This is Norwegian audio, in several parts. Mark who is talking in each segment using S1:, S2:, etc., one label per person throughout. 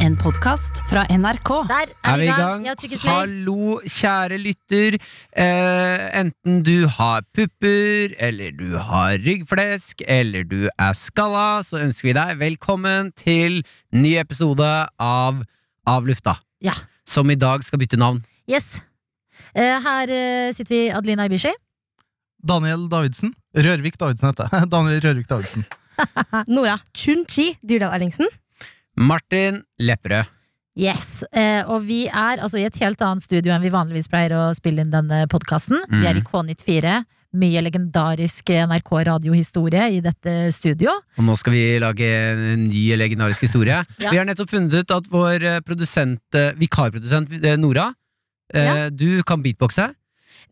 S1: En podkast fra NRK.
S2: Der
S3: Er vi i gang?
S2: Jeg har trykket play.
S3: Hallo, kjære lytter. Eh, enten du har pupper, eller du har ryggflesk, eller du er skalla, så ønsker vi deg velkommen til ny episode av Av lufta,
S2: Ja.
S3: som i dag skal bytte navn.
S2: Yes. Eh, her eh, sitter vi, Adelina Ibishi.
S4: Daniel Davidsen. Rørvik Davidsen heter jeg. Daniel Rørvik Davidsen.
S5: Nora Chun-Chi Dyrdal Erlingsen.
S3: Martin Lepperød.
S2: Yes. Eh, og vi er altså i et helt annet studio enn vi vanligvis pleier å spille inn denne podkasten. Vi
S3: Mm.
S2: er i K94. Mye legendarisk NRK radiohistorie i dette studio.
S3: Og nå skal vi lage en ny legendarisk historie.
S2: Ja.
S3: Vi har nettopp funnet ut at vår eh, produsent, eh, vikarprodusent eh, Nora, eh, du kan beatboxe.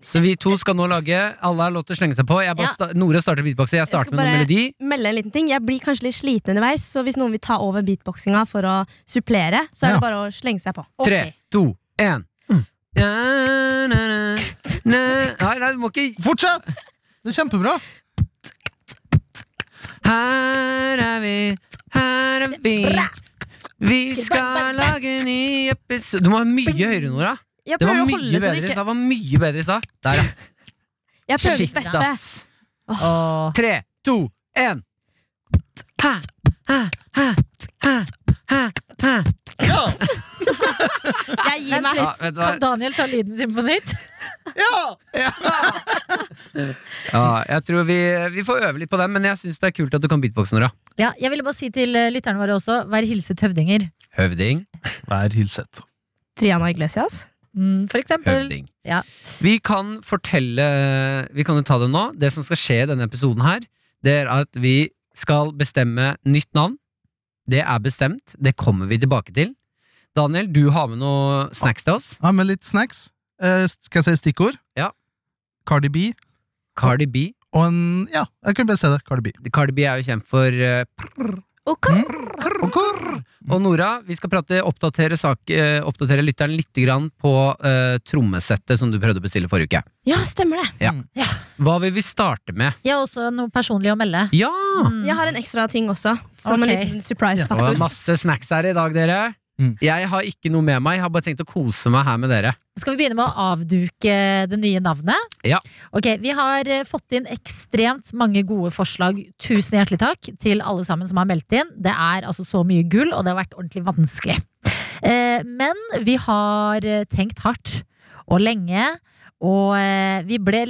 S3: Så vi to skal nå lage Alle har lov til å slenge seg på. Jeg bare
S2: Ja.
S3: sta Nora starter beatboxe, jeg
S5: skal
S3: starter med noen
S5: bare-
S3: melodi.
S5: Melde en liten ting. Jeg blir kanskje litt sliten underveis, så hvis noen vil ta over beatboxinga for å supplere, så er det
S4: Ja.
S5: bare å slenge seg på.
S3: Tre,
S2: Ok.
S3: to, én. Na, na, na, na. Nei, nei, du må ikke
S4: Fortsett! Det er kjempebra.
S3: Her er vi, her er vi. Vi skal lage en ny episode Du må ha mye høyere, Nora.
S5: Jeg
S3: Det var
S5: prøver å
S3: mye
S5: holde så
S3: bedre
S5: det
S3: i
S5: ikke
S3: stad. var mye bedre i stad. Der, ja.
S5: Jeg prøver mitt
S3: Shit,
S5: beste.
S3: ass.
S2: Og
S3: Tre, to, én.
S4: Ja!
S5: Jeg gir meg.
S3: Ja, vet du hva?
S2: kan Daniel ta lyden sin på nytt?
S4: Ja! ja.
S3: Ja, jeg tror vi, vi får øve litt på den, men jeg syns det er kult at du kan beatboxe, Nora.
S2: Ja, jeg ville bare si til eh, lytterne våre også, vær hilset høvdinger.
S3: Høvding,
S4: Vær hilset.
S5: Triana Iglesias.
S2: Mm, for eksempel.
S3: høvding.
S2: Ja.
S3: Vi kan fortelle Vi kan jo ta det nå. Det som skal skje i denne episoden her, det er at vi skal bestemme nytt navn. Det er bestemt. Det kommer vi tilbake til. Daniel, du har med noe snacks til oss.
S4: Ha med litt snacks. Eh, skal jeg si stikkord?
S3: Ja.
S4: Cardi B
S3: Cardi B.
S4: og en Ja, jeg kan bare si det. Cardi B.
S3: Cardi B er jo kjent for eh,
S5: Ok.
S4: Og hvor?
S3: Mm. Og Nora, vi skal prate, oppdatere, sak, eh, oppdatere lytteren litt grann på eh, trommesettet som du prøvde å bestille forrige uke.
S5: Ja, stemmer det.
S3: Hva vil vi starte med?
S2: Jeg har også noe personlig å melde.
S3: Ja!
S2: Mm.
S5: Jeg har en ekstra ting også, som
S2: Ok.
S5: en liten
S3: Det var
S5: surprise-faktor.
S3: masse snacks her i dag, dere.
S4: Mm.
S3: Jeg har ikke noe med meg, jeg har bare tenkt å kose meg her med dere.
S2: Skal vi begynne med å avduke det nye navnet?
S3: Ja.
S2: Ok, Vi har eh, fått inn ekstremt mange gode forslag. Tusen hjertelig takk til alle sammen som har meldt inn. Det er altså så mye gull, og det har vært ordentlig vanskelig. Eh, Men vi har eh, tenkt hardt og lenge, og eh, vi ble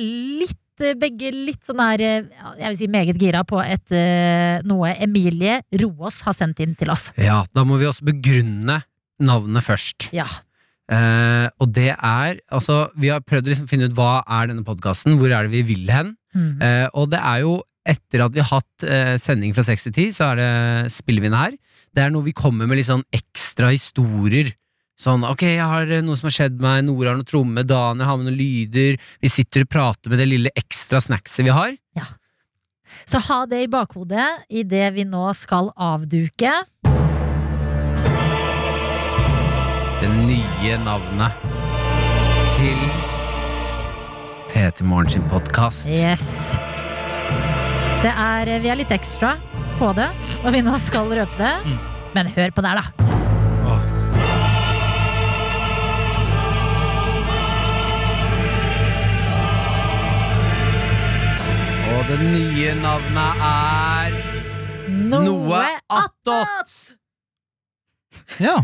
S2: litt eh, begge litt sånn her eh, Jeg vil si meget gira på et, eh, noe Emilie Roås har sendt inn til oss.
S3: Ja, Da må vi også begrunne navnet først.
S2: Ja.
S3: Eh, og det er Altså, vi har prøvd å liksom finne ut hva er denne podkasten, hvor er det vi vil hen?
S2: Mm.
S3: Eh, og det er jo etter at vi har hatt eh, sending fra 6 til 10, så er det spiller vi inn her. Det er noe vi kommer med litt sånn ekstra historier. Sånn, ok, jeg har eh, noe som har skjedd meg, Nora har noe tromme, Daniel har med noen lyder, vi sitter og prater med det lille ekstra snackset vi har.
S2: Så ha det i bakhodet i det vi nå skal avduke.
S3: Det nye navnet til PT Morgen sin podkast.
S2: Yes. Det er, eh, vi er litt ekstra på det når vi nå skal røpe det.
S3: Mm.
S2: Men hør på der, da.
S3: Og det nye navnet er Noe attåt!
S4: Ja.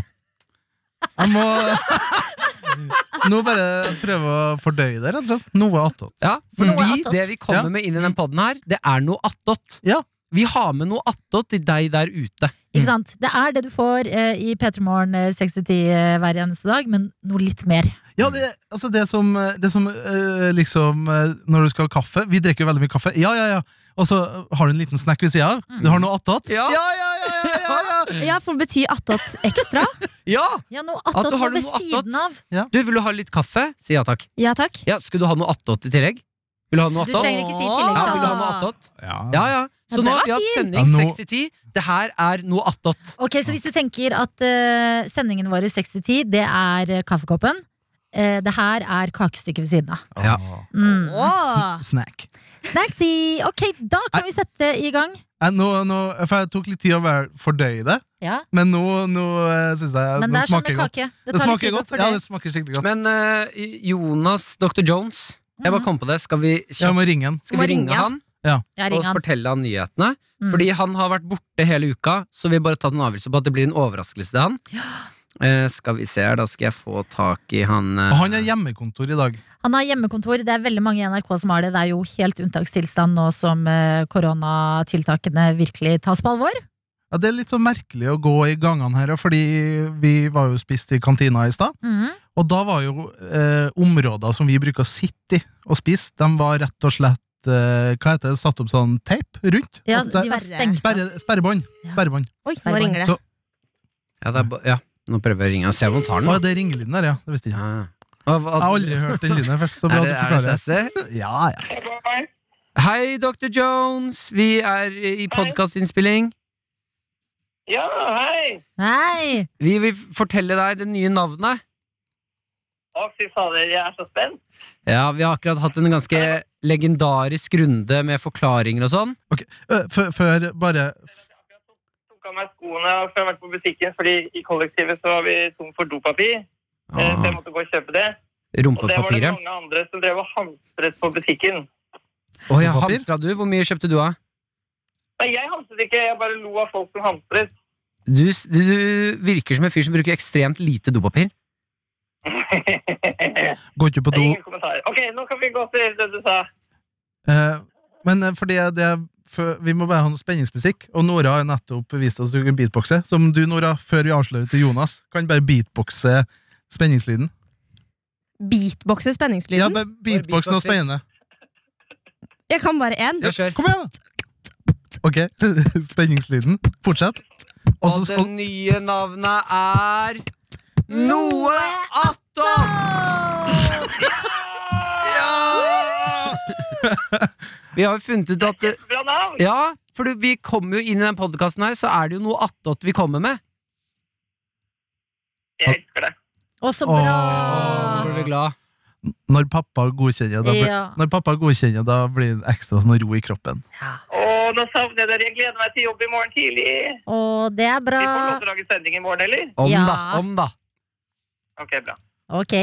S4: Jeg må Nå bare prøve å fordøye det, rett og slett. Noe attåt.
S3: Ja,
S2: Noe
S3: fordi
S2: attåt.
S3: det Mm. vi kommer
S4: Ja.
S3: med inn i den podden her, det er noe attåt.
S4: Ja.
S3: Vi har med noe attåt til deg der ute.
S2: Ikke sant? Det er det du får eh, i P3 Morgen 6-10 eh, hver eneste dag, men noe litt mer.
S4: Ja, det, altså det som, det som eh, liksom eh, Når du skal ha kaffe Vi drikker jo veldig mye kaffe. Ja, ja, ja. Og så eh, har du en liten snack ved sida av. Du har noe attåt.
S3: Ja.
S4: ja, ja, ja, ja, ja, ja.
S5: Ja, for det betyr attåt ekstra.
S3: Ja!
S2: Ja, noe
S3: At
S2: attåt
S3: du har
S2: ved
S3: noe attåt.
S2: siden av.
S3: Du, vil du ha litt kaffe? Si ja takk.
S5: Ja takk.
S3: Ja, Skulle du ha noe attåt i tillegg? Vil du ha noe
S2: Du
S3: attåt?
S2: trenger ikke si i tillegg
S3: Ja,
S2: til
S3: vil du ha noe
S2: attåt.
S3: attåt? Ja, ja. Så nå
S5: Ja, den
S3: har
S5: var
S3: vi hatt
S5: fin.
S3: sending
S4: Ja, nå-
S3: 60-10. Det her er noe attåt.
S2: Ok, Så hvis du tenker at eh, sendingen vår 6-10, det er eh, kaffekoppen, eh, det her er kakestykket ved siden av.
S3: Ja.
S4: Åh.
S2: Mm.
S5: Åh.
S4: Sn snack.
S2: Snacksy! Ok, da kan vi sette i gang.
S4: Eh, Nå, nå, for jeg tok litt tid å være- fordøye det,
S2: Ja,
S4: men nå, nå eh, synes jeg
S2: Men
S4: nå
S2: det er som
S4: smaker
S2: med
S4: det godt.
S2: kake.
S4: Det
S2: tar litt
S4: smaker
S2: tid å
S4: godt. Ja,
S2: fordøye.
S4: det smaker skikkelig godt.
S3: Men eh, Jonas, Dr. Jones, jeg
S2: Mhm.
S3: bare kom på det. Skal vi,
S4: Jeg
S3: kjapt-
S4: må ringe en.
S3: skal vi ringe han
S2: Ja, ring
S3: og
S2: han.
S3: fortelle han nyhetene?
S2: Mm.
S3: Fordi han har vært borte hele uka, så vi har bare tatt en avgjørelse på at det blir en overraskelse til han. Eh, skal vi se her, da skal jeg få tak i han eh,
S4: Og han har hjemmekontor i dag.
S2: Han har hjemmekontor. Det er veldig mange i NRK som har det. Det er jo helt unntakstilstand nå som eh, koronatiltakene virkelig tas på alvor.
S4: Ja, det er litt så merkelig å gå i gangene her, fordi vi var jo spist i kantina i stad.
S2: Mhm.
S4: Og da var jo eh, områder som vi bruker å sitte i og spise, de var rett og slett eh, Hva heter det? Satt opp sånn teip rundt?
S2: Ja,
S4: At
S2: så de
S4: det-
S2: var
S5: Sperre.
S2: stengt.
S4: Sperre, sperrebånd.
S2: Ja.
S4: Sperrebånd.
S5: Oi, nå ringer det.
S4: Så,
S3: ja, det er, ba- ja, nå prøver jeg å ringe han. Se om han tar den.
S4: å,
S3: da.
S4: det er ringelyden der, ja. Det visste jeg ikke.
S3: Ja. Og hva-
S4: Jeg har aldri hørt den lyden før. Så bra
S3: Er
S4: at du
S3: det, er det
S4: forklarer.
S3: Sassy?
S4: Ja, ja.
S3: Hei, Dr. Jones! Vi er i podkastinnspilling.
S6: Ja, hei!
S2: Nei!
S3: Vi vil fortelle deg det nye navnet.
S6: Å, fy fader, jeg er så spent.
S3: Ja, Vi har akkurat hatt en ganske legendarisk runde med forklaringer og sånn.
S4: Ø, Før, før bare
S6: Tok av meg skoene før jeg har vært på butikken, fordi i kollektivet så var vi tom for dopapir. eh, Så
S3: Ah,
S6: jeg måtte gå og kjøpe det. Og det var det
S3: Rumpepapiret.
S6: mange andre som drev og hamstret på butikken.
S3: Å ja,
S4: Papir?
S3: hamstra du? Hvor mye kjøpte du av?
S6: Nei, jeg hamstret ikke, jeg bare lo av folk som hamstret.
S3: Du, s- du virker som en fyr som bruker ekstremt lite dopapir.
S4: Går ikke på do.
S6: Ingen kommentar. Ok, nå kan vi gå til det du sa.
S4: Eh, men eh, fordi det er før- vi må bare ha noe spenningsmusikk, og Nora har nettopp vist oss at du kan beatboxe. Som du, Nora, før vi avslører til Jonas, kan bare beatboxe spenningslyden.
S5: Beatboxer
S4: Ja,
S5: spenningslyden.
S4: bare beatbox
S3: beatbox
S4: noe
S3: litt.
S4: spennende.
S5: Jeg kan bare én.
S3: Ja, kjør.
S4: Kom igjen, da! Ok, spenningslyden. Fortsett. Og
S3: Og
S4: så
S3: det
S4: skal
S3: nye navnet er Noe attåt!
S4: Ja!
S3: Vi har jo funnet ut at eh,
S6: Bra navn!
S3: Ja, for du- vi kommer jo inn i den podkasten her, så er det jo noe attåt vi kommer med.
S6: Jeg elsker det.
S2: Å, så
S3: Da
S4: Åh.
S2: bra!
S3: blir vi glad.
S4: Når pappa godkjenner, da blir,
S2: Ja.
S4: når pappa godkjenner, da blir det ekstra sånn ro i kroppen.
S2: Ja.
S6: Å, nå savner jeg dere. Jeg gleder meg til jobb i morgen tidlig.
S2: Å, det er
S6: Vi
S2: bra.
S6: får lov til å lage sending i morgen, eller?
S3: Om
S2: Ja.
S3: da, om da.
S6: Ok, bra.
S2: Ok.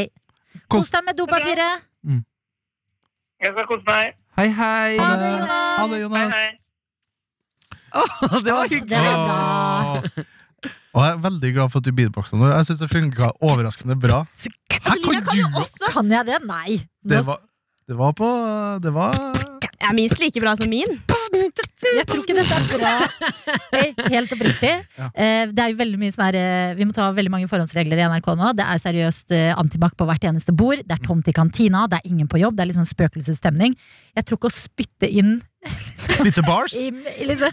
S2: Kos deg med dopapiret.
S6: Jeg skal kose meg.
S3: Hei, hei.
S2: Ha
S4: Ha
S2: det,
S4: det. Ha
S2: Jonas.
S4: det,
S6: Hei,
S4: Jonas!
S6: hei.
S3: Det var hyggelig.
S2: Det var bra.
S4: Åh. Og jeg er veldig glad for at du beatboxa nå. Jeg synes det funka overraskende bra. Her
S5: Adelina kan jo
S4: du
S5: også!
S2: Kan jeg det? Nei.
S4: Det
S2: Nå-
S4: var, det var på Det var
S5: Er minst like bra som min.
S2: Jeg tror ikke dette er bra. Oi, Helt oppriktig.
S4: Ja.
S2: Eh, Det er jo veldig mye sånn her eh, Vi må ta veldig mange forhåndsregler i NRK nå. Det er seriøst eh, antibac på hvert eneste bord. Det er tomt i kantina. Det er ingen på jobb. Det er litt sånn spøkelsesstemning. Jeg tror ikke å spytte inn
S4: Bitte bars.
S2: i, i liksom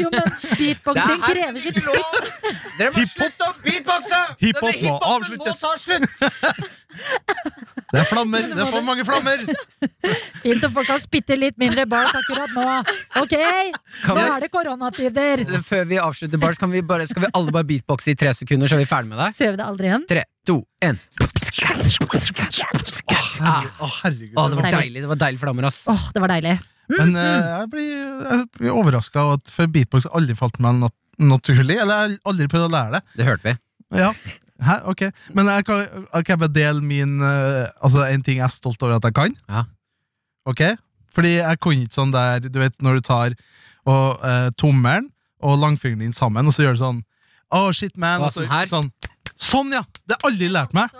S2: Jo, men beatboxing krever sitt spytt.
S3: Dere
S4: må slutte
S3: å beatboxe!
S4: Hiphop Denne må hiphopen må avsluttes. ta Det er flammer! Det er for mange flammer!
S2: Fint om folk kan spytte litt mindre bars akkurat nå. Ok? Nå
S3: vi-
S2: er det koronatider.
S3: Før vi avslutter, Bars, kan vi bare, skal vi alle bare beatboxe i tre sekunder, så er vi ferdig med deg?
S2: Så gjør vi det aldri igjen.
S3: Tre, to, én.
S4: Herregud, Å, herregud.
S3: Å, Ah, det var
S2: Deilig.
S3: deilig. Det var deilig flammer, ass.
S2: Åh, det var deilig.
S4: Men eh, jeg blir, jeg blir overraska over at for beatbox har aldri falt meg nat naturlig. Eller jeg har aldri prøvd å lære det.
S3: Det hørte vi.
S4: Ja, Hæ? ok Men jeg kan, jeg kan bare dele min eh, Altså en ting jeg er stolt over at jeg kan
S3: Ja.
S4: Ok Fordi jeg kunne ikke sånn der Du vet når du tar og, eh, tommeren og langfingeren din sammen Og så gjør du sånn Åh shit man
S3: Hva,
S4: og så-
S3: sånn her?
S4: Sånn, sånn ja, det har jeg aldri lært meg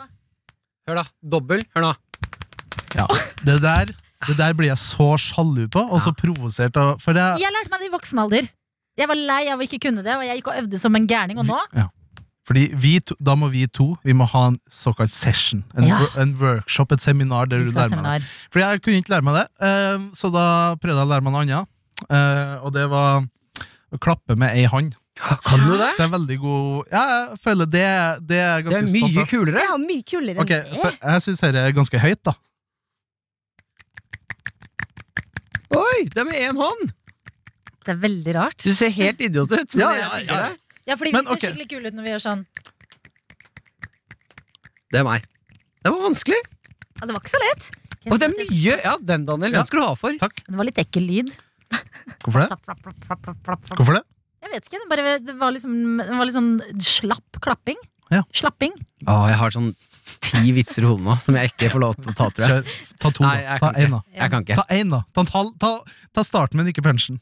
S3: Hør da. Dobbel. Hør nå.
S4: Det der, det der blir jeg så sjalu på Og så provosert av For det
S2: Jeg lærte meg det i voksen alder. Jeg var lei av å ikke kunne det, og jeg gikk og øvde som en gærning. Og nå
S4: ja. Fordi vi to, da må vi to Vi må ha en såkalt session En,
S2: Ja.
S4: wor- en workshop, et seminar der
S2: vi
S4: du
S2: skal ha
S4: lærer
S2: et
S4: meg det
S2: seminar.
S4: Fordi jeg kunne ikke lære meg det, eh, så da prøvde jeg å lære meg noe annet. Eh, og det var å klappe med ei hand.
S3: Kan du det?
S4: Så jeg er veldig god Ja, jeg føler det, det er
S3: Det
S4: jeg ganske
S3: er
S4: stolt
S3: mye
S4: av.
S3: kulere.
S5: Jeg har mye kulere
S4: Ok,
S5: enn det.
S4: for jeg syns dette er ganske høyt, da.
S3: Oi, det er med én hånd!
S2: Det er veldig rart.
S3: Du ser helt idiot ut. men
S4: Ja,
S3: jeg
S4: ja,
S3: digger
S4: ja.
S3: det.
S2: Ja, fordi
S4: Men,
S2: vi ser
S4: ok.
S2: skikkelig kule ut når vi gjør sånn.
S3: Det er meg. Det var vanskelig!
S5: Ja, det var ikke så lett.
S3: Og det er mye! Ja, den, Daniel. Den skal du ha for.
S2: Det var litt ekkel lyd.
S4: Hvorfor det?
S2: Flapp, flapp, flapp, flapp, flapp, flapp, flapp.
S4: Hvorfor det?
S2: Jeg vet ikke. Det, bare, det, var liksom, det var litt sånn slapp klapping.
S4: Ja.
S2: Slapping.
S3: Å, jeg har sånn ti vitser i hodet nå som jeg ikke får lov til å ta, tror jeg.
S4: Kjør. Ta to,
S3: Nei,
S4: da.
S3: jeg
S4: Ta
S3: kan ikke.
S4: én, da.
S3: Jeg kan ikke.
S4: Ta én, da. Ta, en halv, ta, ta starten, men ikke punchen.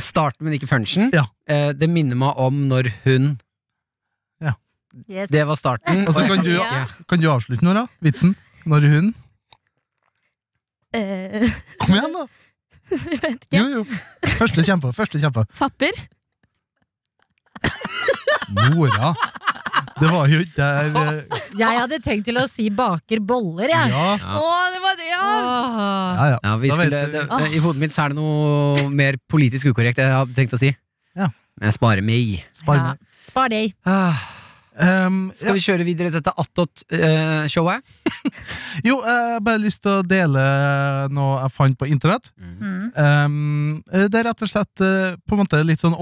S3: Start, men ikke punchen.
S4: Ja.
S3: Eh, det minner meg om når hun
S2: Yes.
S3: Det var starten.
S4: Og så kan du,
S5: Ja.
S4: kan du avslutte nå, da? Vitsen? Når hun
S5: Eh,
S4: Kom igjen, da!
S5: jeg vet ikke.
S4: Jo, jo. Første kjempe. Første kjempe.
S5: Fapper.
S4: Nora. Det var jo ikke der eh,
S2: Jeg hadde tenkt til å si baker boller, jeg.
S4: Ja,
S5: Å, det var det, ja!
S2: Åh.
S4: ja. ja.
S3: Ja, vi
S4: Da vet
S3: skulle,
S4: du-
S3: det, det, I hodet mitt så er det noe mer politisk ukorrekt jeg hadde tenkt å si.
S4: Ja.
S3: Men jeg sparer meg.
S4: Spar meg.
S2: Ja. Spar deg.
S3: Ah,
S4: Ehm,
S3: skal vi kjøre videre til dette eh, Attot-showet?
S4: Jo, jeg har bare lyst til å dele noe jeg fant på internett.
S2: Mm.
S4: Ehm, det er rett og slett eh, på en måte litt sånn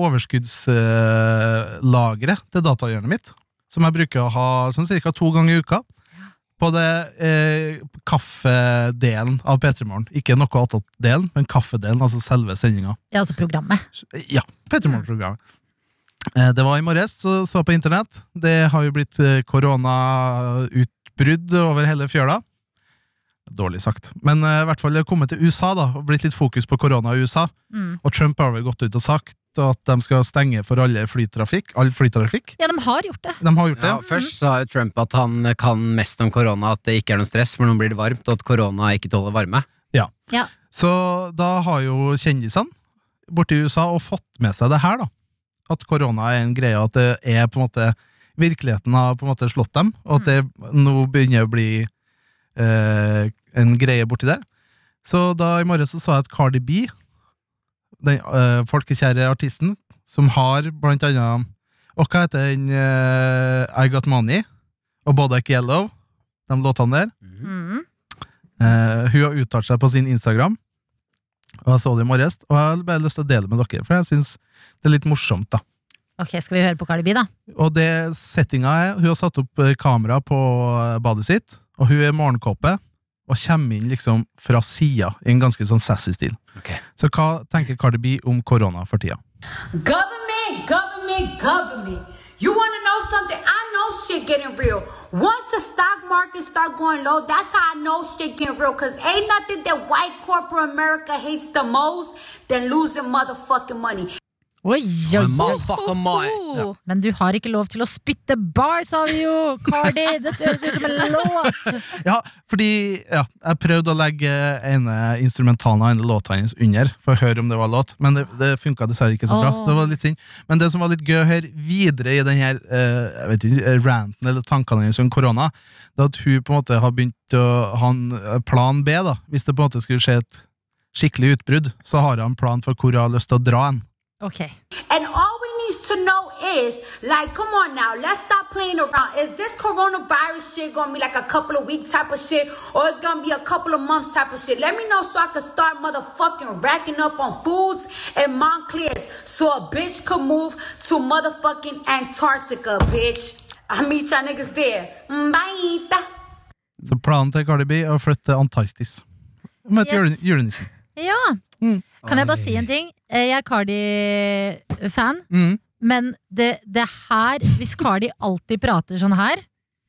S4: overskuddslagre til datahjørnet mitt. Som jeg bruker å ha sånn ca. to ganger i uka. På det eh, kaffedelen av P3 Morgen. Ikke noe annet delen, men kaffedelen, altså selve sendinga.
S2: Ja, altså programmet.
S4: Ja, P3 Morgen-programmet. Eh, det var i morges, så så jeg på internett. Det har jo blitt eh, koronautbrudd over hele fjøla. Dårlig sagt. Men eh, i hvert fall det har kommet til USA, da, og blitt litt fokus på korona i USA.
S2: Mm.
S4: Og Trump har vel gått ut og sagt at de skal stenge for alle flytrafikk, all flytrafikk.
S2: Ja, de har gjort det.
S4: De har gjort det.
S3: Ja, først sa jo Trump at han kan mest om korona, at det ikke er noe stress, for nå blir det varmt, og at korona ikke tåler varme.
S4: Så da har jo kjendisene borti USA og fått med seg det her, da. At korona er en greie, og at det er på en måte Virkeligheten har på en måte slått dem, og at det nå begynner å bli eh, en greie borti der. Så da i morges så så jeg at Cardi B, den eh, folkekjære artisten, som har blant annet Og hva heter den eh, I Got Money og Bodak Yellow, de låtene der?
S2: Mm.
S4: Eh, hun har uttalt seg på sin Instagram, og jeg så det i morges. Og jeg har bare lyst til å dele med dere, for jeg syns det er litt morsomt. da
S2: Ok, skal vi høre på Cardi B, da?
S4: Og det settinga er Hun har satt opp eh, kamera på eh, badet sitt, og hun er i morgenkåpe og kommer inn liksom fra sida i en ganske sånn sassy stil.
S3: Ok.
S4: Så hva tenker Cardi B om korona for tida?
S7: Government, government, government. You want to know something? I know shit getting real. Once the stock market start going low, that's how I know shit getting real. Cause ain't nothing that white corporate America hates the most than losing motherfucking money.
S2: Oi, oi, oi.
S3: Motherfucker, my.
S5: Ho, ho.
S2: Men du har ikke lov til å spytte bar, sa vi jo! Cardi, dette høres ut som en låt!
S4: Ja, fordi ja, jeg prøvde å legge ene instrumentalen av ene låta hennes under, for å høre om det var låt, men det, det funka dessverre ikke så bra.
S2: Åh.
S4: Så det var litt synd. Men det som var litt gøy her videre i den her eh, jeg vet ikke, ranten eller tankene hennes om korona, det er at hun på en måte har begynt å ha en eh, plan B, da. Hvis det på en måte skulle skje et skikkelig utbrudd, så har hun en plan for hvor hun har lyst til å dra hen.
S2: Ok.
S7: And all we need to know is, like, come on now, let's stop playing around. Is this coronavirus shit gonna be like a couple of week type of shit, or it's gonna be a couple of months type of shit? Let me know so I can start motherfucking racking up on foods and Montclair's so a bitch could move to motherfucking Antarctica, bitch. I meet y'all niggas there. Bye.
S4: Så planen til Cardi B er å flytte til Antarktis. Møte
S2: Yes.
S4: jule- julenissen.
S2: Ja.
S4: Mm.
S2: Kan jeg bare si en ting? Eh, Jeg er Cardi-fan,
S4: Mm.
S2: men det, det her Hvis Cardi alltid prater sånn her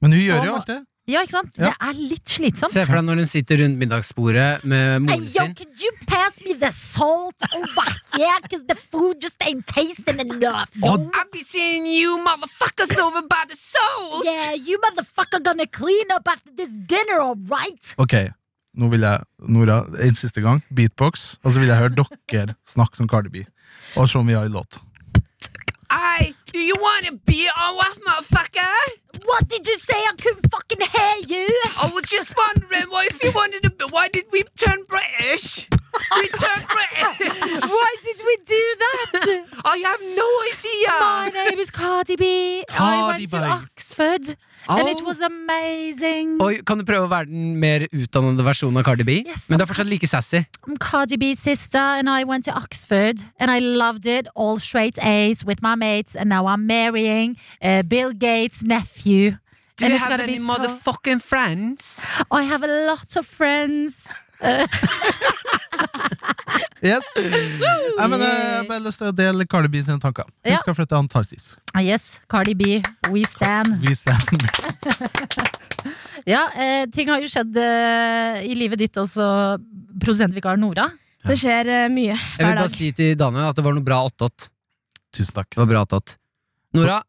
S4: Men hun
S2: Så
S4: gjør jo
S2: må-
S4: alt det.
S2: Ja, ikke sant?
S4: Ja.
S2: Det er litt slitsomt.
S3: Se for deg når hun sitter rundt middagsbordet med
S2: Hey,
S3: moren
S2: yo,
S3: sin.
S2: could you pass me the salt over here? Cause the food just ain't tasting enough. yo.
S4: Og-
S3: I'll be seeing you motherfuckers over by the soul!
S2: Yeah, you motherfucker gonna clean up after this dinner, all right?
S4: Ok, nå vil jeg, Nora, en siste gang, beatbox, og så vil jeg høre dere snakke som Cardi B, og se om vi har en låt.
S8: I do you want to be on what, motherfucker?
S2: What did you say? I couldn't fucking hear you.
S8: I was just wondering, why if you wanted to be, why did we turn British? We turned British.
S2: Why did we do that?
S8: I have no idea.
S2: My name is Cardi B. I
S4: Cardi
S2: went to
S4: B.
S2: Oxford, and it
S3: Oh.
S2: was amazing.
S3: Oi, kan du prøve å være den mer utdannede versjonen av Cardi B?
S2: Yes,
S3: Men du er fortsatt like sassy.
S2: I'm Um, Cardi B's sister, and I went to Oxford, and I loved it. All straight A's with my mates, and now I'm marrying uh, Bill Gates' nephew,
S3: Do
S2: And
S3: you
S2: it's
S3: have
S2: gotta be
S3: any
S2: so-
S3: motherfucking friends?
S2: I have a lot of friends.
S4: Yes. Nei, men, eh, bare lyst til å dele Cardi B sine tanker. Hun
S2: Ja.
S4: skal flytte til Antarktis.
S2: Ah, Yes, Cardi B, we stand.
S4: Vis den.
S2: Ja, eh, ting har jo skjedd eh, i livet ditt også, produsentvikar Nora.
S5: Det skjer eh, mye
S3: Jeg vil
S5: hver
S3: bare
S5: dag.
S3: si til Daniel at det var noe bra attåt.
S4: Tusen takk.
S3: Det var bra attåt. Nora,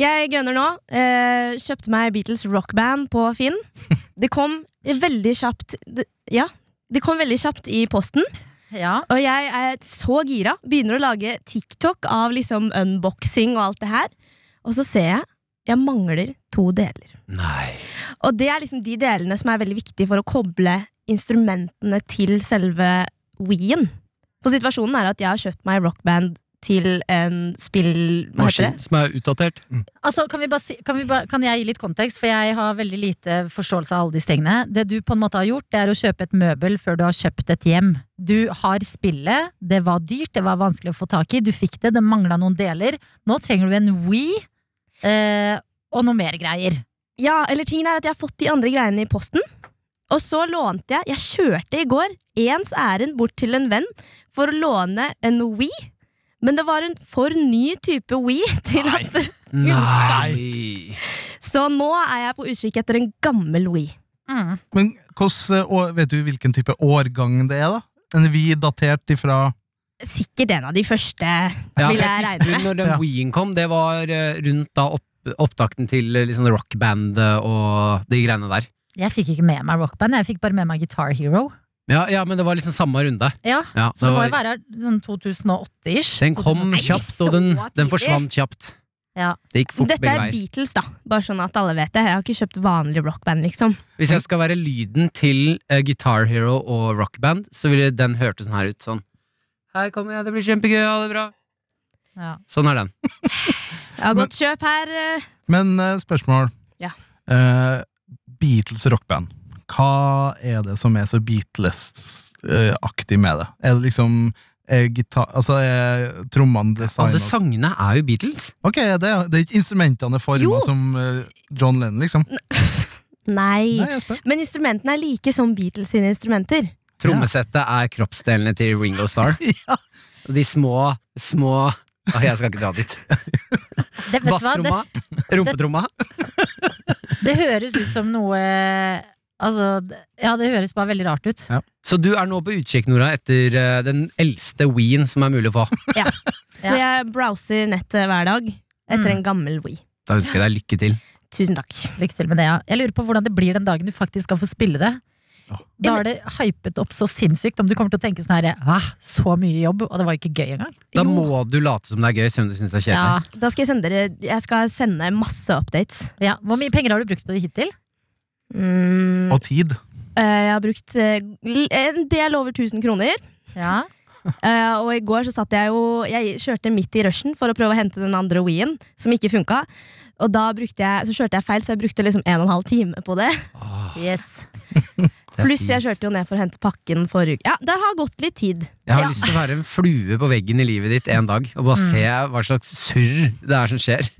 S5: Jeg gunner nå. eh, kjøpte meg Beatles rockband på Finn. Det kom veldig kjapt det, Ja, det kom veldig kjapt i posten.
S2: Ja.
S5: Og jeg er så gira. Begynner å lage TikTok av liksom unboxing og alt det her. Og så ser jeg jeg mangler to deler.
S3: Nei.
S5: Og det er liksom de delene som er veldig viktige for å koble instrumentene til selve Wien. For situasjonen er at jeg har kjøpt meg rockband til en spill... Hva heter
S3: Maskin
S5: det?
S3: som er utdatert.
S2: Altså, kan, vi bare si, kan, vi bare, kan jeg gi litt kontekst, for jeg har veldig lite forståelse av alle disse tingene. Det du på en måte har gjort, det er å kjøpe et møbel før du har kjøpt et hjem. Du har spillet, det var dyrt, det var vanskelig å få tak i, du fikk det, det mangla noen deler. Nå trenger du en We eh, og noe mer greier.
S5: Ja, eller tingen er at jeg har fått de andre greiene i posten. Og så lånte jeg Jeg kjørte i går ens ærend bort til en venn for å låne en We. Men det var en for ny type We til at
S3: Nei.
S5: Så nå er jeg på utkikk etter en gammel We.
S2: Mm.
S4: Men hvordan, eh, år- vet du hvilken type årgang det er, da? En vi datert ifra
S5: Sikkert en av de første,
S3: Ja,
S5: vil
S3: for
S5: jeg
S3: jeg
S5: regne
S3: tipper
S5: med.
S3: når den
S4: Ja.
S3: Ween kom, det var eh, rundt da opp, opptakten til eh, liksom rockband eh, og de greiene der.
S2: Jeg fikk ikke med meg rockband, jeg fikk bare med meg Guitar Hero.
S3: Ja, ja, men det var liksom samme runde.
S2: Ja,
S3: Ja,
S2: Så det
S3: det
S2: må jo
S3: var-
S2: være sånn 2008-ish.
S3: Den kom kjapt, og den,
S5: så
S3: den
S5: tidlig.
S3: forsvant kjapt.
S2: Ja.
S3: Det gikk fort
S5: Dette
S3: begge
S5: er
S3: veier.
S5: Beatles, da. Bare sånn at alle vet det. Jeg har ikke kjøpt vanlig rockband, liksom.
S3: Hvis jeg skal være lyden til eh, Guitar Hero og Rockband, så ville den hørtes sånn her ut. Sånn. Her kommer jeg, det blir kjempegøy, ha det bra.
S2: Ja.
S3: Sånn er den.
S5: Jeg har godt kjøp her. eh,
S4: Men eh, spørsmål.
S5: Ja.
S4: Eh, Beatles rockband. Hva er det som er så Beatles-aktig med det? Er det liksom er gitar, altså er trommene
S3: Alle
S4: designet
S3: sangene er jo Beatles.
S4: Ok, det, er- det er ikke instrumentene
S5: Jo.
S4: forma som eh, John Lennon, liksom?
S5: Nei.
S4: Nei, jeg spør.
S5: Men instrumentene er like som Beatles sine instrumenter.
S3: Trommesettet er kroppsdelene til Ringo Starr.
S4: Ja.
S3: Og de små, små Åh, Jeg skal ikke dra dit.
S2: Det, vet du hva? Det,
S3: Basstromma, rumpetromma.
S2: det høres ut som noe Altså, d- ja, det høres bare veldig rart ut.
S3: Så du er nå på utkikk, Nora, etter eh, den eldste Ween som er mulig å få.
S5: Så jeg browser nettet hver dag etter
S2: Mm.
S5: en gammel We.
S3: Da ønsker jeg deg lykke til.
S5: Tusen takk.
S2: Lykke til med det, ja. Jeg lurer på hvordan det blir den dagen du faktisk skal få spille det.
S4: Ja.
S2: Da er det hypet opp så sinnssykt om du kommer til å tenke sånn her Hæ, så mye jobb, og det var jo ikke gøy engang.
S3: Da må du late som det er gøy, selv om du syns det er kjedelig.
S2: Ja,
S5: Da skal jeg sende dere Jeg skal sende masse updates.
S2: ja. Hvor mye penger har du brukt på det hittil?
S5: Mm.
S4: Og tid.
S5: eh, jeg har brukt eh, l- en del over 1000 kroner.
S2: Ja.
S5: Eh, og i går så satt jeg jo Jeg kjørte midt i rushen for å prøve å hente den andre Wien, som ikke funka. Og da brukte jeg, så kjørte jeg feil, så jeg brukte liksom en og en halv time på det.
S3: Åh,
S2: Yes.
S3: Ah. det er
S5: Pluss
S3: fint.
S5: jeg kjørte jo ned for å hente pakken forrige uke. Ja, det har gått litt tid.
S3: Jeg har
S5: Ja.
S3: lyst til å være en flue på veggen i livet ditt en dag, og
S2: Mm.
S3: bare se hva slags surr det er som skjer.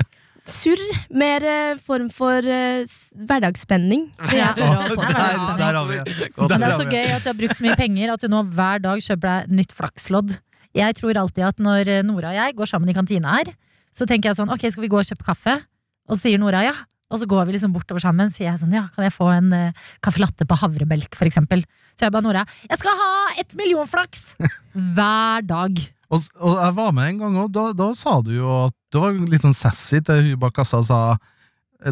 S5: Surr. Mer eh, form for eh, s- hverdagsspenning.
S2: Ja.
S4: Å, der,
S2: det er veldig
S4: der har vi det.
S3: Godt.
S2: Men
S4: Der
S2: det
S4: har
S2: er så
S4: vi
S2: gøy at du har brukt så mye penger at du nå hver dag kjøper deg nytt flakslodd. Jeg tror alltid at når eh, Nora og jeg går sammen i kantina her, så tenker jeg sånn ok, skal vi gå og kjøpe kaffe? Og så sier Nora ja. Og så går vi liksom bortover sammen, sier jeg sånn ja, kan jeg få en eh, caffè latte på havremelk for eksempel? Så jeg bare Nora, jeg skal ha ett million flaks! Hver dag.
S4: Og, og jeg var med en gang, og da, da sa du jo at du var litt sånn sassy til hun bak kassa og sa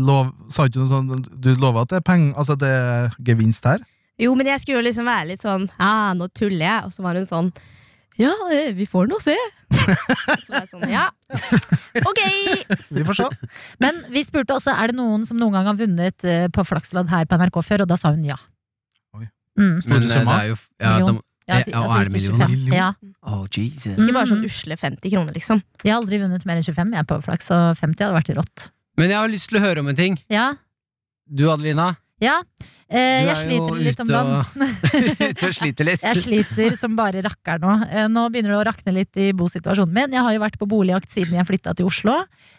S4: lov, Sa ikke noe sånn Du lover at det er penger Altså det er gevinst her?
S5: Jo, men jeg skulle jo liksom være litt sånn Ja, nå tuller jeg. Og så var hun sånn Ja, eh, vi får nå se. så var jeg sånn Ja, ok.
S4: Vi får se.
S2: Men vi spurte også er det noen som noen gang har vunnet eh, på flakslodd her på NRK før, og da sa hun ja.
S4: Oi.
S2: Mm.
S4: Spurte
S3: eh,
S4: summa?
S3: jo f- ja, da,
S2: Million. Ja, si-
S3: Ja, Eh, og
S2: altså,
S3: er det
S2: ikke
S3: million, da?
S2: 25. Ja.
S3: Oh, Jesus.
S5: Ikke bare sånn
S2: Mm.
S5: usle 50 kroner, liksom.
S2: Jeg har aldri vunnet mer enn 25 jeg på flaks, og 50 hadde vært rått.
S3: Men jeg har lyst til å høre om en ting.
S2: Ja,
S3: Du, Adelina.
S2: Ja. Eh, jeg
S3: Du er jo
S2: sliter litt om
S3: ute
S2: dagen.
S3: og- Ute og sliter litt.
S2: Jeg sliter som bare rakker nå. Eh, Nå begynner det å rakne litt i bosituasjonen min. Jeg har jo vært på boligjakt siden jeg flytta til Oslo,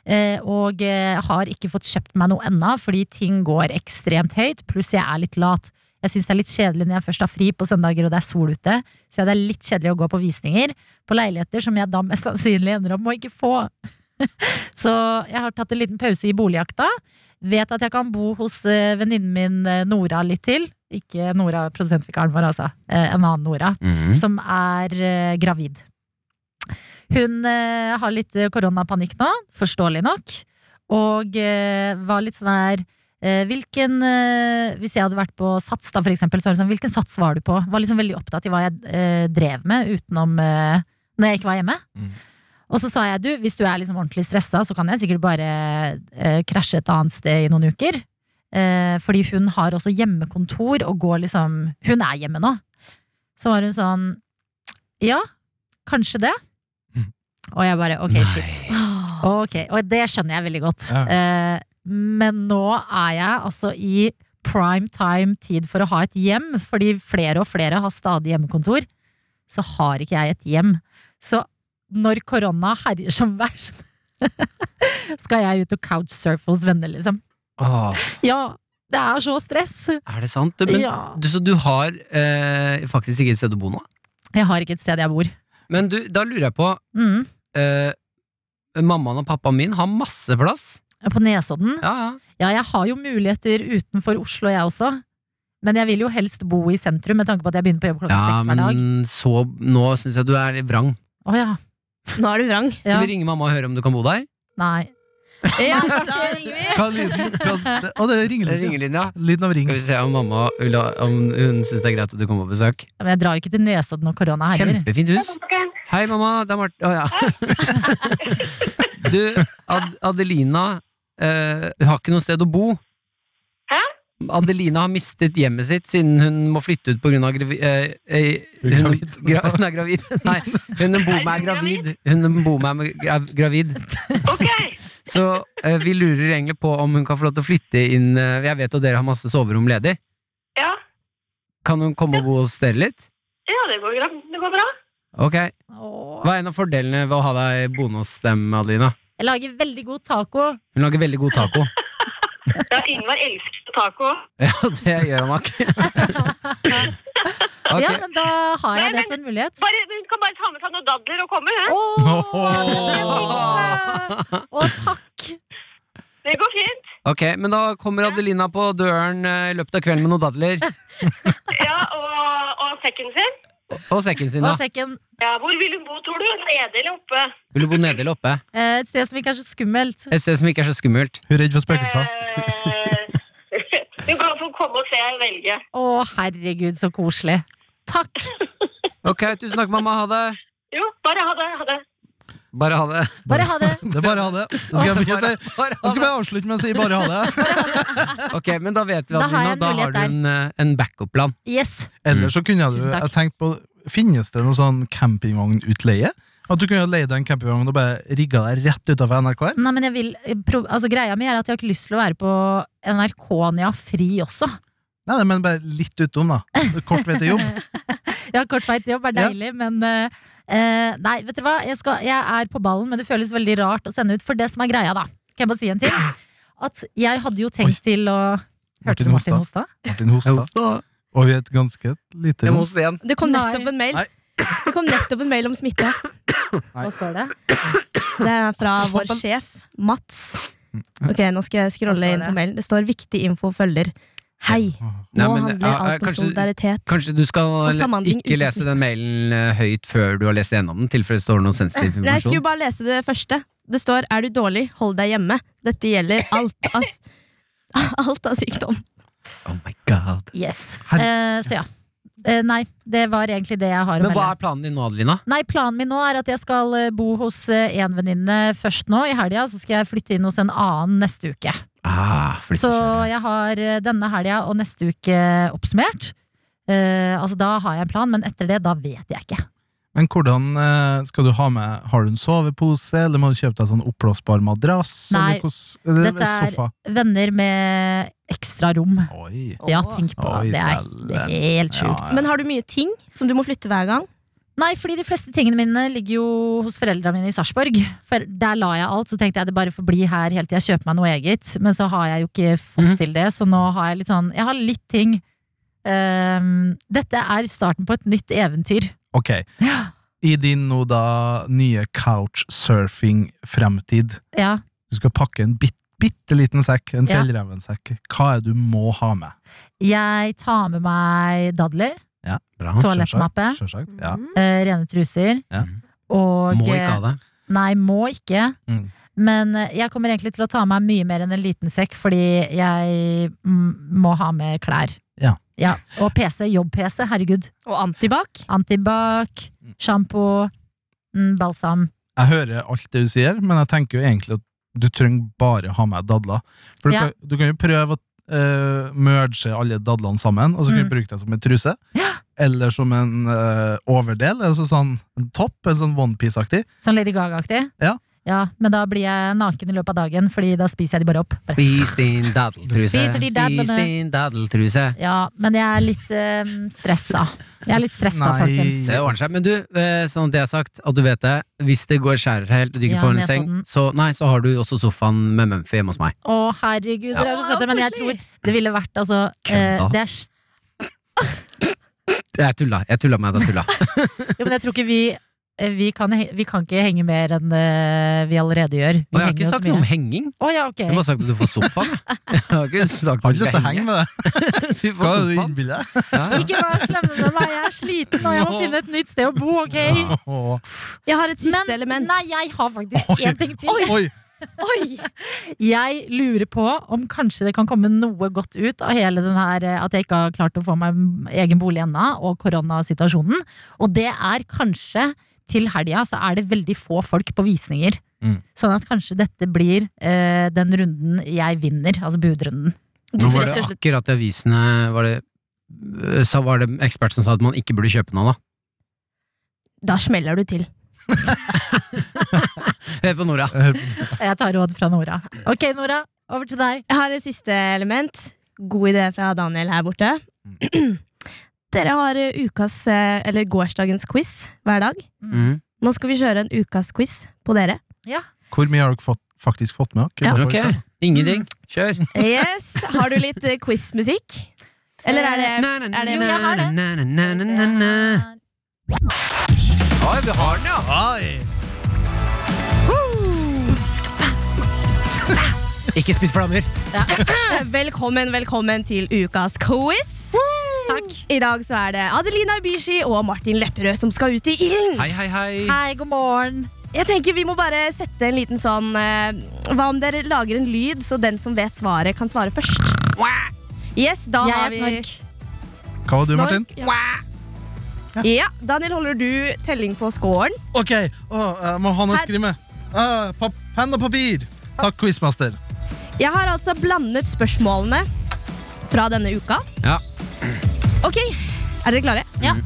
S2: eh, og eh, har ikke fått kjøpt meg noe ennå, fordi ting går ekstremt høyt, pluss jeg er litt lat. Jeg syns det er litt kjedelig når jeg først har fri på søndager og det er sol ute, så det er litt kjedelig å gå på visninger på leiligheter som jeg da mest sannsynlig ender opp med å ikke få. Så jeg har tatt en liten pause i boligjakta. Vet at jeg kan bo hos eh, venninnen min eh, Nora litt til. Ikke Nora, produsentvikaren vår, altså. Eh, En annen Nora
S3: Mhm.
S2: som er eh, gravid. Hun eh, har litt eh, koronapanikk nå, forståelig nok, og eh, var litt sånn her eh, Hvilken eh, Hvis jeg hadde vært på sats, da, for eksempel, så var det sånn Hvilken sats var du på? Var liksom veldig opptatt i hva jeg eh, drev med utenom eh, når jeg ikke var hjemme.
S4: Mm.
S2: Og så sa jeg du, hvis du er liksom ordentlig stressa, så kan jeg sikkert bare eh, krasje et annet sted i noen uker. Eh, fordi hun har også hjemmekontor og går liksom Hun er hjemme nå. Så var hun sånn Ja, kanskje det. Og jeg bare ok, shit. Ok, Og det skjønner jeg veldig godt.
S4: Ja.
S2: Eh, men nå er jeg altså i prime time tid for å ha et hjem, fordi flere og flere har stadig hjemmekontor. Så har ikke jeg et hjem. Så når korona herjer som verst, skal jeg ut og couchsurfe hos venner, liksom.
S3: Åh,
S2: Ja, det er så stress!
S3: er det sant? Men,
S2: ja.
S3: du, så du har eh, faktisk ikke et sted å bo nå?
S2: Jeg har ikke et sted jeg bor.
S3: Men du, da lurer jeg på
S2: Mm.
S3: eh, Mammaen og pappaen min har masse plass.
S2: På Nesodden.
S3: Ja, ja.
S2: Ja, jeg har jo muligheter utenfor Oslo, jeg også. Men jeg vil jo helst bo i sentrum, med tanke på at jeg begynner på jobb klokka
S3: Ja,
S2: seks hver dag.
S3: men så Nå syns jeg du er litt vrang.
S2: Å ja.
S5: Nå er du vrang.
S3: Skal
S2: ja.
S3: vi ringe mamma og høre om du kan bo der?
S2: Nei.
S5: Ja, da ringer vi.
S4: Hva er lyden? Hva- det- Å, det er ringelyd.
S3: Ringelinja.
S4: Lyden av ring.
S3: Skal vi se om mamma vil ha, om hun syns det er greit at du kommer på besøk.
S2: Ja, Men jeg drar jo ikke til Nesodden når korona herjer.
S3: Kjempefint hus. Hei, mamma. Det er Martin. Å, ja. Du, Ad Adelina eh, hun har ikke noe sted å bo.
S6: Hæ?
S3: Adelina har mistet hjemmet sitt siden hun må flytte ut pga. gravid... Eh, eh,
S4: Hun er
S3: hun,
S4: gravid.
S3: gra hun er gravid. Nei, hun hun bor med er gravid. Hun hun bor med er gra- gravid.
S6: Ok,
S3: Så eh, vi lurer egentlig på om hun kan få lov til å flytte inn eh, Jeg vet jo dere har masse soverom ledig.
S6: ja.
S3: Kan hun komme og bo hos dere litt?
S6: Ja, det går, gra- det går bra.
S3: Ok,
S2: Åh.
S3: Hva er en av fordelene ved å ha deg boende hos dem, Adelina?
S2: Jeg lager veldig god taco.
S3: Hun lager veldig god taco.
S6: Ja, Ingvar elsker taco.
S3: Ja, det gjør han nok. Ok.
S2: Ja, men da har jeg det som en mulighet.
S6: Bare, hun kan bare ta med seg noen dadler og komme. Hun.
S2: Åh, det skal jeg fikse! Å, takk!
S6: Det går fint.
S3: ok, men da kommer Adelina på døren eh, i løpet av kvelden med noen dadler.
S6: Ja, og, og sekken sin.
S3: Og sekken sin,
S2: Og
S3: da.
S2: sekken.
S6: Ja, hvor vil hun bo, tror du? Nede eller oppe?
S3: Vil du bo nede eller oppe?
S2: Eh, Et sted som ikke er så skummelt.
S3: Et sted som ikke er så skummelt.
S4: Hun er redd for spøkelser.
S6: Eh, hun kan få komme og se og velge.
S2: Å, herregud, så koselig. Takk.
S3: Ok, tusen takk, mamma. Ha det.
S6: Jo, bare ha det. Ha det.
S3: Bare ha det.
S2: Bare ha det.
S4: Det er bare å ha det. Det skal jeg begynne å si.
S3: Bare
S4: Nå
S3: ha
S4: skal
S3: det.
S4: vi avslutte med å si bare ha det.
S3: Ok, men da vet vi,
S2: Da har jeg
S3: Adelina.
S2: en
S3: Da har
S2: mulighet
S3: du en, eh, en backup-plan.
S2: Yes.
S4: Ellers så kunne jeg,
S2: Tusen takk.
S4: jeg tenkt på Finnes det noen sånn campingvognutleie? At du kunne leie deg en campingvogn og bare rigga deg rett utafor NRK her?
S2: Nei, men jeg vil, pro- altså, greia mi er at jeg har ikke lyst til å være på NRK når jeg har fri også.
S4: Nei, nei, men bare litt utom, da. Kort vei til jobb.
S2: Ja, kort vei til jobb er
S4: Ja.
S2: deilig, men eh, eh, Nei, vet dere hva, jeg, skal, jeg er på ballen, men det føles veldig rart å sende ut. For det som er greia, da, kan jeg bare si en ting? At jeg hadde jo tenkt til å Hørte
S4: Martin
S2: du Martin
S4: Hostad.
S2: Hostad?
S4: Martin hosta, og vi er et ganske lite
S3: Jeg må
S4: rom.
S3: hos igjen.
S5: Det kom
S2: Nei.
S5: nettopp en mail.
S4: Nei.
S5: Det kom nettopp en mail om smitte.
S4: Nei.
S2: Hva står det?
S5: Det er fra vår sjef, Mats. Ok, Nå skal jeg
S2: Hva
S5: scrolle
S2: står
S5: inn
S2: det?
S5: på mailen. Det står 'viktig info følger'. Hei! Nå
S3: Nei, men,
S5: handler
S3: ja, ja,
S5: alt om
S3: kanskje-
S5: solidaritet.
S3: Kanskje du skal
S5: samhandling
S3: ikke
S5: uten
S3: lese den mailen eh, høyt før du har lest gjennom den, tilfelle det står noe sensitiv
S5: Nei, jeg skulle
S3: informasjon.
S5: bare lese det første. Det står 'er du dårlig, hold deg hjemme'. Dette gjelder alt av, s- alt av sykdom.
S3: Oh my god.
S2: Yes.
S4: Her-
S2: Eh, så ja. Eh, nei, det var egentlig det jeg har å
S3: Men hva
S2: melde.
S3: er planen din nå, Adelina?
S2: Nei, planen min nå er at jeg skal eh, bo hos eh, en venninne først nå i helga, så skal jeg flytte inn hos en annen neste uke.
S3: Ah, flytter
S2: Så
S3: selv, ja.
S2: jeg har eh, denne helga og neste uke oppsummert. Eh, altså Da har jeg en plan, men etter det, da vet jeg ikke.
S4: Men hvordan eh, skal du ha med Har du en sovepose, eller må du kjøpe deg sånn oppblåsbar madrass?
S2: Nei,
S4: eller hvordan, eller
S2: dette er-
S4: sofa?
S2: Venner med ekstra rom.
S4: Oi.
S2: Ja, tenk på det.
S4: Oi,
S2: Det er
S4: dæven.
S2: helt
S4: Ja,
S2: sjukt.
S4: ja.
S5: Men har du mye ting som du må flytte hver gang?
S2: Nei, fordi de fleste tingene mine ligger jo hos foreldra mine i Sarpsborg. For der la jeg alt, så tenkte jeg det bare får bli her helt til jeg kjøper meg noe eget. Men så har jeg jo ikke fått
S3: Mhm.
S2: til det, så nå har jeg litt sånn Jeg har litt ting. Ehm, dette er starten på et nytt eventyr.
S4: Ok.
S2: Ja.
S4: I din nå da nye couchsurfing-fremtid,
S2: Ja.
S4: du skal pakke en bit, bitte liten sekk, en
S2: Ja.
S4: fjellrevensekk, hva er det du må ha med?
S2: Jeg tar med meg dadler,
S3: Bra.
S2: toalettmappe,
S4: Sjølsagt. Ja.
S2: eh, rene truser
S4: Ja.
S2: og eh,
S3: Må ikke ha det.
S2: Nei, må ikke.
S4: Mm.
S2: Men eh, jeg kommer egentlig til å ta med meg mye mer enn en liten sekk, fordi jeg mm, må ha med klær.
S4: Ja.
S2: Og PC. Jobb-PC. Herregud.
S5: Og antibac?
S2: Antibac,
S4: Mm.
S2: sjampo, mm, balsam.
S4: Jeg hører alt det du sier, men jeg tenker jo egentlig at du trenger bare ha med dadler. For du,
S2: Ja.
S4: kan, du kan jo prøve å eh, merge alle dadlene sammen, og så kan
S2: Mm.
S4: du bruke dem som en truse. Eller som en eh, overdel, altså sånn en topp, en sånn onepiece-aktig.
S2: Sånn Lady Gaga-aktig.
S4: Ja.
S2: Men da blir jeg naken i løpet av dagen, Fordi da spiser jeg de bare opp. Bare.
S3: Spis din dadeltruse.
S2: Spiser de dadlene.
S3: Spis din dadeltruse.
S2: Ja, men jeg er litt eh, stressa. Jeg er litt stressa,
S4: Nei.
S2: folkens.
S3: Det ordner seg. Men du, eh, sånn at det er sagt, at du vet det, hvis det går skjærer helt, og du ikke
S2: Ja,
S3: får
S2: men
S3: en
S2: jeg så
S3: seng,
S2: den.
S3: så, nei, så har du også sofaen med Mumphy hjemme hos meg.
S2: Å, herregud, dere er så
S5: Ja.
S2: søte. Men jeg tror det ville vært altså eh,
S3: Kødda.
S2: det er,
S3: Jeg tulla. Jeg tulla med at jeg tulla.
S2: jo, Men jeg tror ikke vi eh, vi kan, he- vi kan ikke henge mer enn eh, vi allerede gjør.
S3: Og
S2: Vi
S3: jeg har
S2: henger jo
S3: ikke
S2: så
S3: sagt
S2: mye.
S3: noe om henging.
S2: Å ja, ok.
S3: Jeg har bare sagt at du får sofaen. jeg. Jeg har ikke sagt
S4: Jeg har
S3: at
S4: ikke lyst til å henge med deg.
S3: Du får
S4: Hva er det du
S3: sofaen.
S4: innbiller deg?
S3: Ja, ja.
S2: Ikke vær slemme med meg, jeg er sliten og jeg må finne et nytt sted å bo, ok?
S3: Ja.
S4: Åh.
S5: Jeg har et siste
S2: Men
S5: element.
S2: nei, jeg har faktisk
S4: Oi.
S2: én ting til.
S4: Oi!
S5: Oi!
S2: Jeg lurer på om kanskje det kan komme noe godt ut av hele den her eh, at jeg ikke har klart å få meg m- egen bolig ennå, og koronasituasjonen. Og det er kanskje til helga så er det veldig få folk på visninger.
S4: Mm.
S2: Sånn at kanskje dette blir eh, den runden jeg vinner, altså budrunden.
S5: Du
S3: Nå
S5: får
S3: var
S5: rett
S3: det
S5: og slett
S3: akkurat i avisene var det, øh, sa, var det ekspert som sa at man ikke burde kjøpe noe, da.
S5: Da smeller du til.
S3: Hør på Nora.
S4: Jeg hører på-
S2: Jeg tar råd fra Nora. Ok, Nora, over til deg.
S5: Jeg har et siste element. God idé fra Daniel her borte.
S3: Mm.
S5: Dere har eh, ukas, eh, eller gårsdagens quiz hver dag.
S3: Mm.
S5: Nå skal vi kjøre en ukas quiz på dere.
S4: Hvor mye har dere fått, faktisk fått med dere?
S3: Ok, ingenting. Kjør.
S5: Yes, Har du litt eh, quizmusikk? Eller er det
S3: Na, na, na,
S5: er det-
S3: na,
S5: Jo, jeg har det.
S3: na, na, na, na, na, na. Ikke spis flammer!
S5: Velkommen, velkommen til ukas quiz.
S2: Takk.
S5: I dag så er det Adelina Ibishi og Martin Lepperød som skal ut i ilden.
S3: Hei, hei, hei.
S2: Hei, god morgen.
S5: Jeg tenker Vi må bare sette en liten sånn eh, Hva om dere lager en lyd, så den som vet svaret, kan svare først? Yes, da
S2: Jeg
S5: har
S2: er
S5: vi
S2: snork.
S4: Hva var du, Martin?
S5: Ja. Daniel, holder du telling på scoren?
S4: Ok, åh, jeg må ha noe å skrive med. Ah, pap Penn og papir! Takk, quizmaster.
S5: Jeg har altså blandet spørsmålene fra denne uka.
S3: Ja.
S5: Ok, er dere klare?
S2: Ja.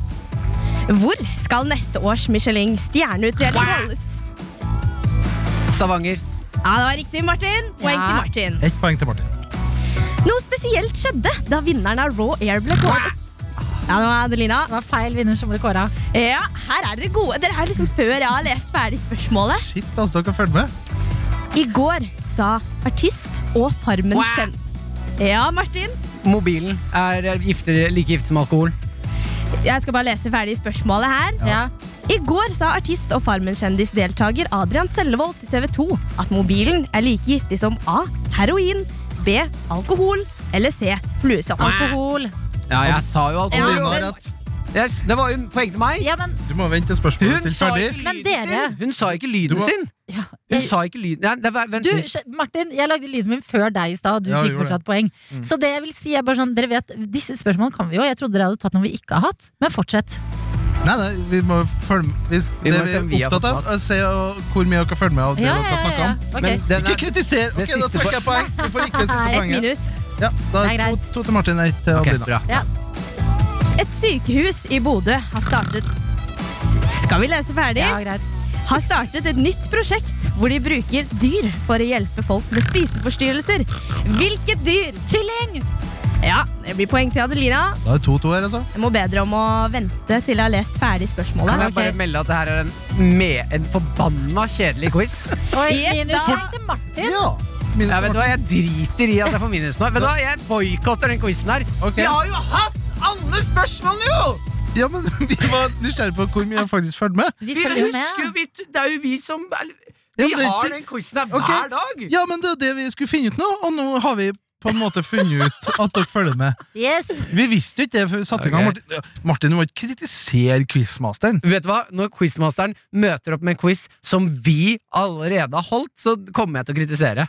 S5: Hvor skal neste års Michelin stjerneutdeling holdes?
S3: Stavanger.
S5: Ja, det var riktig, Martin. Poeng
S2: Ja.
S5: til Martin.
S4: Ett poeng til Martin.
S5: Noe spesielt skjedde da vinneren av Raw Air ble kåret. Ja, nå er Adelina.
S2: Det var feil vinner som ble kåra.
S5: Ja, her er dere gode. Dere er liksom før jeg har lest ferdig spørsmålet.
S4: Shit, altså, dere har fulgt med.
S5: I går sa artist og Farmen kjent. Ja, Martin.
S3: Mobilen er gifter, like gift som alkohol.
S5: Jeg skal bare lese ferdig spørsmålet her.
S2: Ja.
S5: I går sa artist og Farmen-kjendisdeltaker Adrian Sellevold til TV 2 at mobilen er like giftig som A. Heroin, B. Alkohol eller C. Fluesopp.
S2: Alkohol.
S3: Ja, jeg sa jo alkohol.
S4: Lina har
S5: men-
S4: rett.
S3: Yes, det var jo en poeng til meg.
S2: Ja, men
S4: Du må vente til spørsmålet er
S3: Hun
S4: stilt
S3: sa
S4: ferdig.
S3: ikke
S2: Men
S3: lyden
S2: dere-
S3: sin! Hun sa ikke
S4: Du
S3: lyden
S4: må-
S3: sin!
S2: ja,
S3: Hun
S2: jeg,
S3: sa ikke lyden Nei, det var, vent.
S2: Du, skj- Martin, jeg lagde lyden min før deg i stad, og du
S4: Ja,
S2: fikk
S4: gjorde
S2: fortsatt poeng. Så det jeg vil si er bare sånn, dere vet, disse spørsmålene kan vi jo. Jeg trodde dere hadde tatt noe vi ikke har hatt, men fortsett.
S4: Nei, nei, vi må følge med. Hvis
S3: Vi
S4: det
S3: må
S4: vi
S3: se
S4: er
S3: om vi har
S4: opptatt
S3: fått
S4: av,
S3: plass.
S4: er å se uh, hvor mye dere følger med av det
S2: Ja,
S4: dere
S2: ja,
S4: snakker
S2: ja,
S4: om.
S2: ja. Ok.
S3: Men den
S4: Ikke
S3: er,
S4: kritiser!
S3: det
S4: Ok, da
S3: siste
S4: tar ikke jeg poeng. Du får ikke siste
S5: Ett
S4: poenget.
S5: minus.
S4: Ja, da
S2: Det er
S4: er to,
S2: greit.
S4: to til Martin, ett til
S3: Ok,
S4: Adelina.
S3: bra.
S5: Et sykehus i Bodø har startet Skal vi lese ferdig?
S2: Ja, greit.
S5: har startet et nytt prosjekt hvor de bruker dyr for å hjelpe folk med spiseforstyrrelser. Hvilket dyr? Kylling! Ja, det blir poeng til Adelina.
S4: Da er det 2-2 her, altså.
S5: Jeg må bedre om å vente til jeg har lest ferdig spørsmålet.
S3: Kan jeg bare
S5: Ok.
S3: melde at det her er en, med, en forbanna kjedelig quiz?
S2: Oi,
S5: Yes,
S2: minus
S5: da.
S2: poeng til Martin.
S4: Ja. Minus
S3: Ja, vet du hva, Jeg driter i at jeg får minus nå. Vet du hva, Jeg boikotter den quizen her.
S4: Ok.
S3: Vi har jo hatt alle spørsmålene, jo!
S4: Ja, men vi var nysgjerrige på hvor mye han faktisk fulgte med.
S2: Vi
S3: Vi
S2: følger jo
S3: husker jo,
S2: med.
S3: vi, Det er jo vi som
S4: Ja,
S3: Vi
S4: men det er
S3: har
S4: ikke-
S3: den quizen her
S4: Ok.
S3: hver dag.
S4: Ja, men det er det vi skulle finne ut nå, og nå har vi på en måte funnet ut at dere følger med.
S2: Yes.
S4: Vi visste jo ikke det før vi satte i gang.
S3: Ok.
S4: Martin, Martin, du må ikke kritisere quizmasteren.
S3: Vet du hva? Når quizmasteren møter opp med en quiz som vi allerede har holdt, så kommer jeg til å kritisere.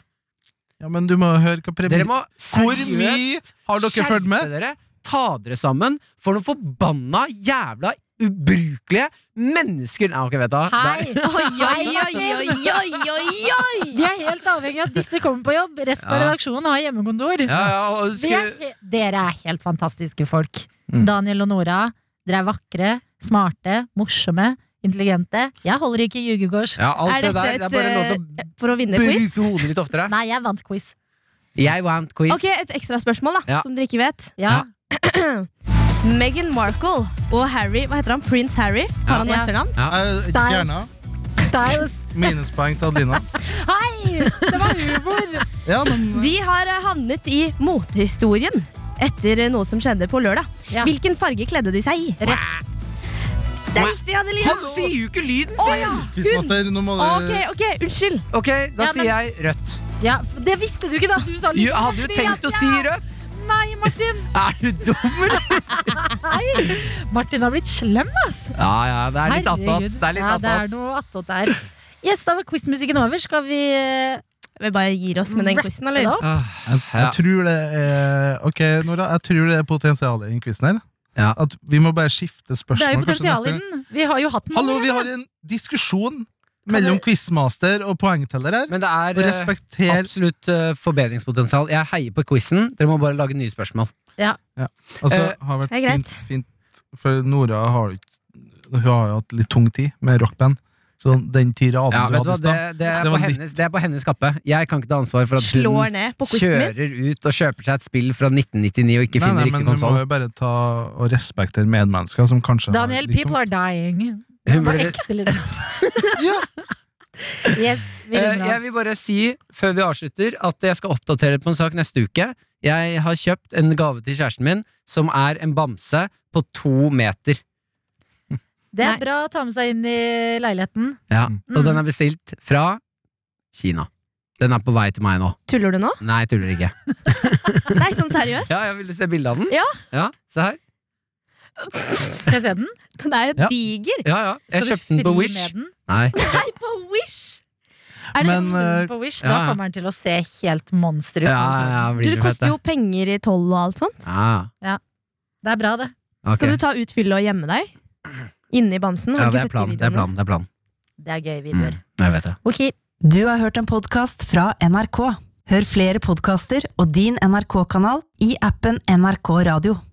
S4: Ja, men du må høre hva premien
S3: Dere må
S4: Hvor mye
S3: seriøst
S4: har dere fulgt med?
S3: dere, ta dere sammen for noen forbanna jævla ubrukelige mennesker Nei, ok, vet du hva.
S2: Hei.
S3: Der.
S5: Oi, oi, oi, oi, oi, oi, oi!
S2: Vi er helt avhengig av at disse kommer på jobb. Resten av
S3: Ja.
S2: redaksjonen har hjemmekontor.
S3: Ja, ja, og
S2: Vi er,
S3: skulle,
S2: he- dere er helt fantastiske folk.
S4: Mm.
S2: Daniel og Nora, dere er vakre, smarte, morsomme, intelligente. Jeg holder ikke i jugegårds.
S3: ja, alt
S5: Er
S3: det der.
S5: dette
S3: Det er bare lov til
S5: et, eh, for å vinne
S3: å bruke
S5: quiz?
S3: hodet litt oftere.
S2: Nei, jeg vant quiz.
S3: Jeg vant quiz.
S5: Ok, Et ekstra spørsmål, da,
S3: Ja.
S5: som dere ikke vet.
S2: Ja.
S5: Meghan Markle og Harry Hva heter han? Prins Harry? Har han noe
S2: Ja.
S5: etternavn?
S4: Jeg
S2: Styles.
S4: Fjerna.
S2: Styles.
S4: Minuspoeng til Adelina.
S2: Hei! Det var humor!
S4: Ja, men
S5: De har eh, havnet i motehistorien etter eh, noe som skjedde på lørdag.
S2: Ja.
S5: Hvilken farge kledde de seg i?
S2: Rett.
S5: Det er riktig, Adelina.
S3: Han sier jo ikke lyden
S5: Å,
S3: sin!
S5: ja.
S4: eh, quizmaster, nå må du
S3: eh,
S5: Ok, ok, unnskyld.
S3: Ok, da
S2: Ja, men-
S3: sier jeg rødt.
S2: Ja, for det visste du ikke, da! Du sa
S3: Jo,
S2: litt
S3: Jeg hadde jo tenkt å si rødt.
S2: Nei, Martin!
S3: Er du dum, eller?
S2: Martin har blitt slem, ass!
S3: Ja, ja, det er litt attåt.
S2: Herregud.
S3: Det er litt
S2: ja, det er
S3: attåt.
S2: noe attåt der. Yes, da var quizmusikken over. Skal vi eh,
S5: Vi bare gir oss med den quizen,
S2: wrappe det
S5: eller?
S2: opp?
S3: Ah,
S4: Jeg, jeg
S3: Ja.
S4: tror det er Ok, Nora, jeg tror det er potensial i den quizen her.
S3: Ja.
S4: At vi må bare skifte
S2: Det
S4: spørsmål.
S2: er jo
S4: kanskje
S2: potensial i
S4: neste gang.
S2: den. Vi har jo hatt den.
S4: Hallo, vi har en diskusjon mellom quizmaster og poengteller her.
S3: Men det
S4: Og
S3: er eh,
S4: respekter
S3: absolutt eh, forbedringspotensial. Jeg heier på quizen. Dere må bare lage nye spørsmål. Eh,
S4: Altså, har vært
S5: det er greit.
S4: fint, fint For Nora har jo ikke- Hun har jo hatt litt tung tid med rockband. Så den tiraden
S3: Ja,
S4: du
S3: vet du hva?
S4: hadde i
S3: Det,
S4: stad
S3: det, er
S4: Det
S3: på
S4: var ditt.
S3: hennes, det er på hennes kappe. Jeg kan ikke ta ansvar for at
S5: Slår
S3: hun
S5: ned på quizen min.
S3: kjører ut og kjøper seg et spill fra 1999 og ikke
S4: Nei,
S3: finner
S4: nei, men
S3: riktig
S4: du må
S3: konsoll.
S4: jo bare ta og respektere medmennesker som kanskje har
S2: Daniel,
S4: litt
S2: people are dying.
S3: Hun Eh,
S2: På
S3: burde-
S2: ekte, liksom.
S4: Ja.
S2: Yes, vi
S3: Eh,
S2: runder
S3: Jeg
S2: av.
S3: vil bare si før vi avslutter at jeg skal oppdatere på en sak neste uke. Jeg har kjøpt en gave til kjæresten min som er en bamse på to meter.
S2: Det
S5: Nei.
S2: er bra å ta med seg inn i leiligheten.
S3: Ja.
S4: Mm.
S3: Og den er bestilt fra Kina. Den er på vei til meg nå.
S5: Tuller du nå?
S3: Nei, jeg tuller ikke.
S5: Nei, sånn seriøst?
S3: Ja, jeg Vil du se bilde av den?
S5: Ja.
S3: Se her.
S2: Skal jeg se den?
S5: Den er jo
S4: Ja.
S5: diger.
S3: Ja, ja. Jeg
S2: Skal du
S3: kjøpte den på
S2: fri
S3: Wish.
S2: med den?
S3: Nei.
S5: Nei, på Wish!
S2: Er det
S4: Men,
S2: sånn
S4: eh,
S2: hun på Wish?
S3: ja,
S2: Da
S3: ja.
S2: kommer den til å se helt monster ut.
S3: Ja, ja, det
S5: Du,
S3: blir så
S5: det
S3: fett,
S5: koster
S3: det.
S5: jo penger i toll og alt sånt.
S3: Ja,
S2: Det er bra, det.
S3: ok.
S5: Skal du ta ut fylle og gjemme deg? Inni bamsen?
S3: ja,
S5: Har du
S3: det
S5: ikke
S3: er
S5: sett
S3: planen.
S5: de
S3: Det er
S5: videoene?
S3: planen. Det er planen.
S2: Det er gøy
S3: Mm.
S2: videoer.
S3: Jeg vet det.
S2: Ok,
S1: Du har hørt en podkast fra NRK. Hør flere podkaster og din NRK-kanal i appen NRK Radio.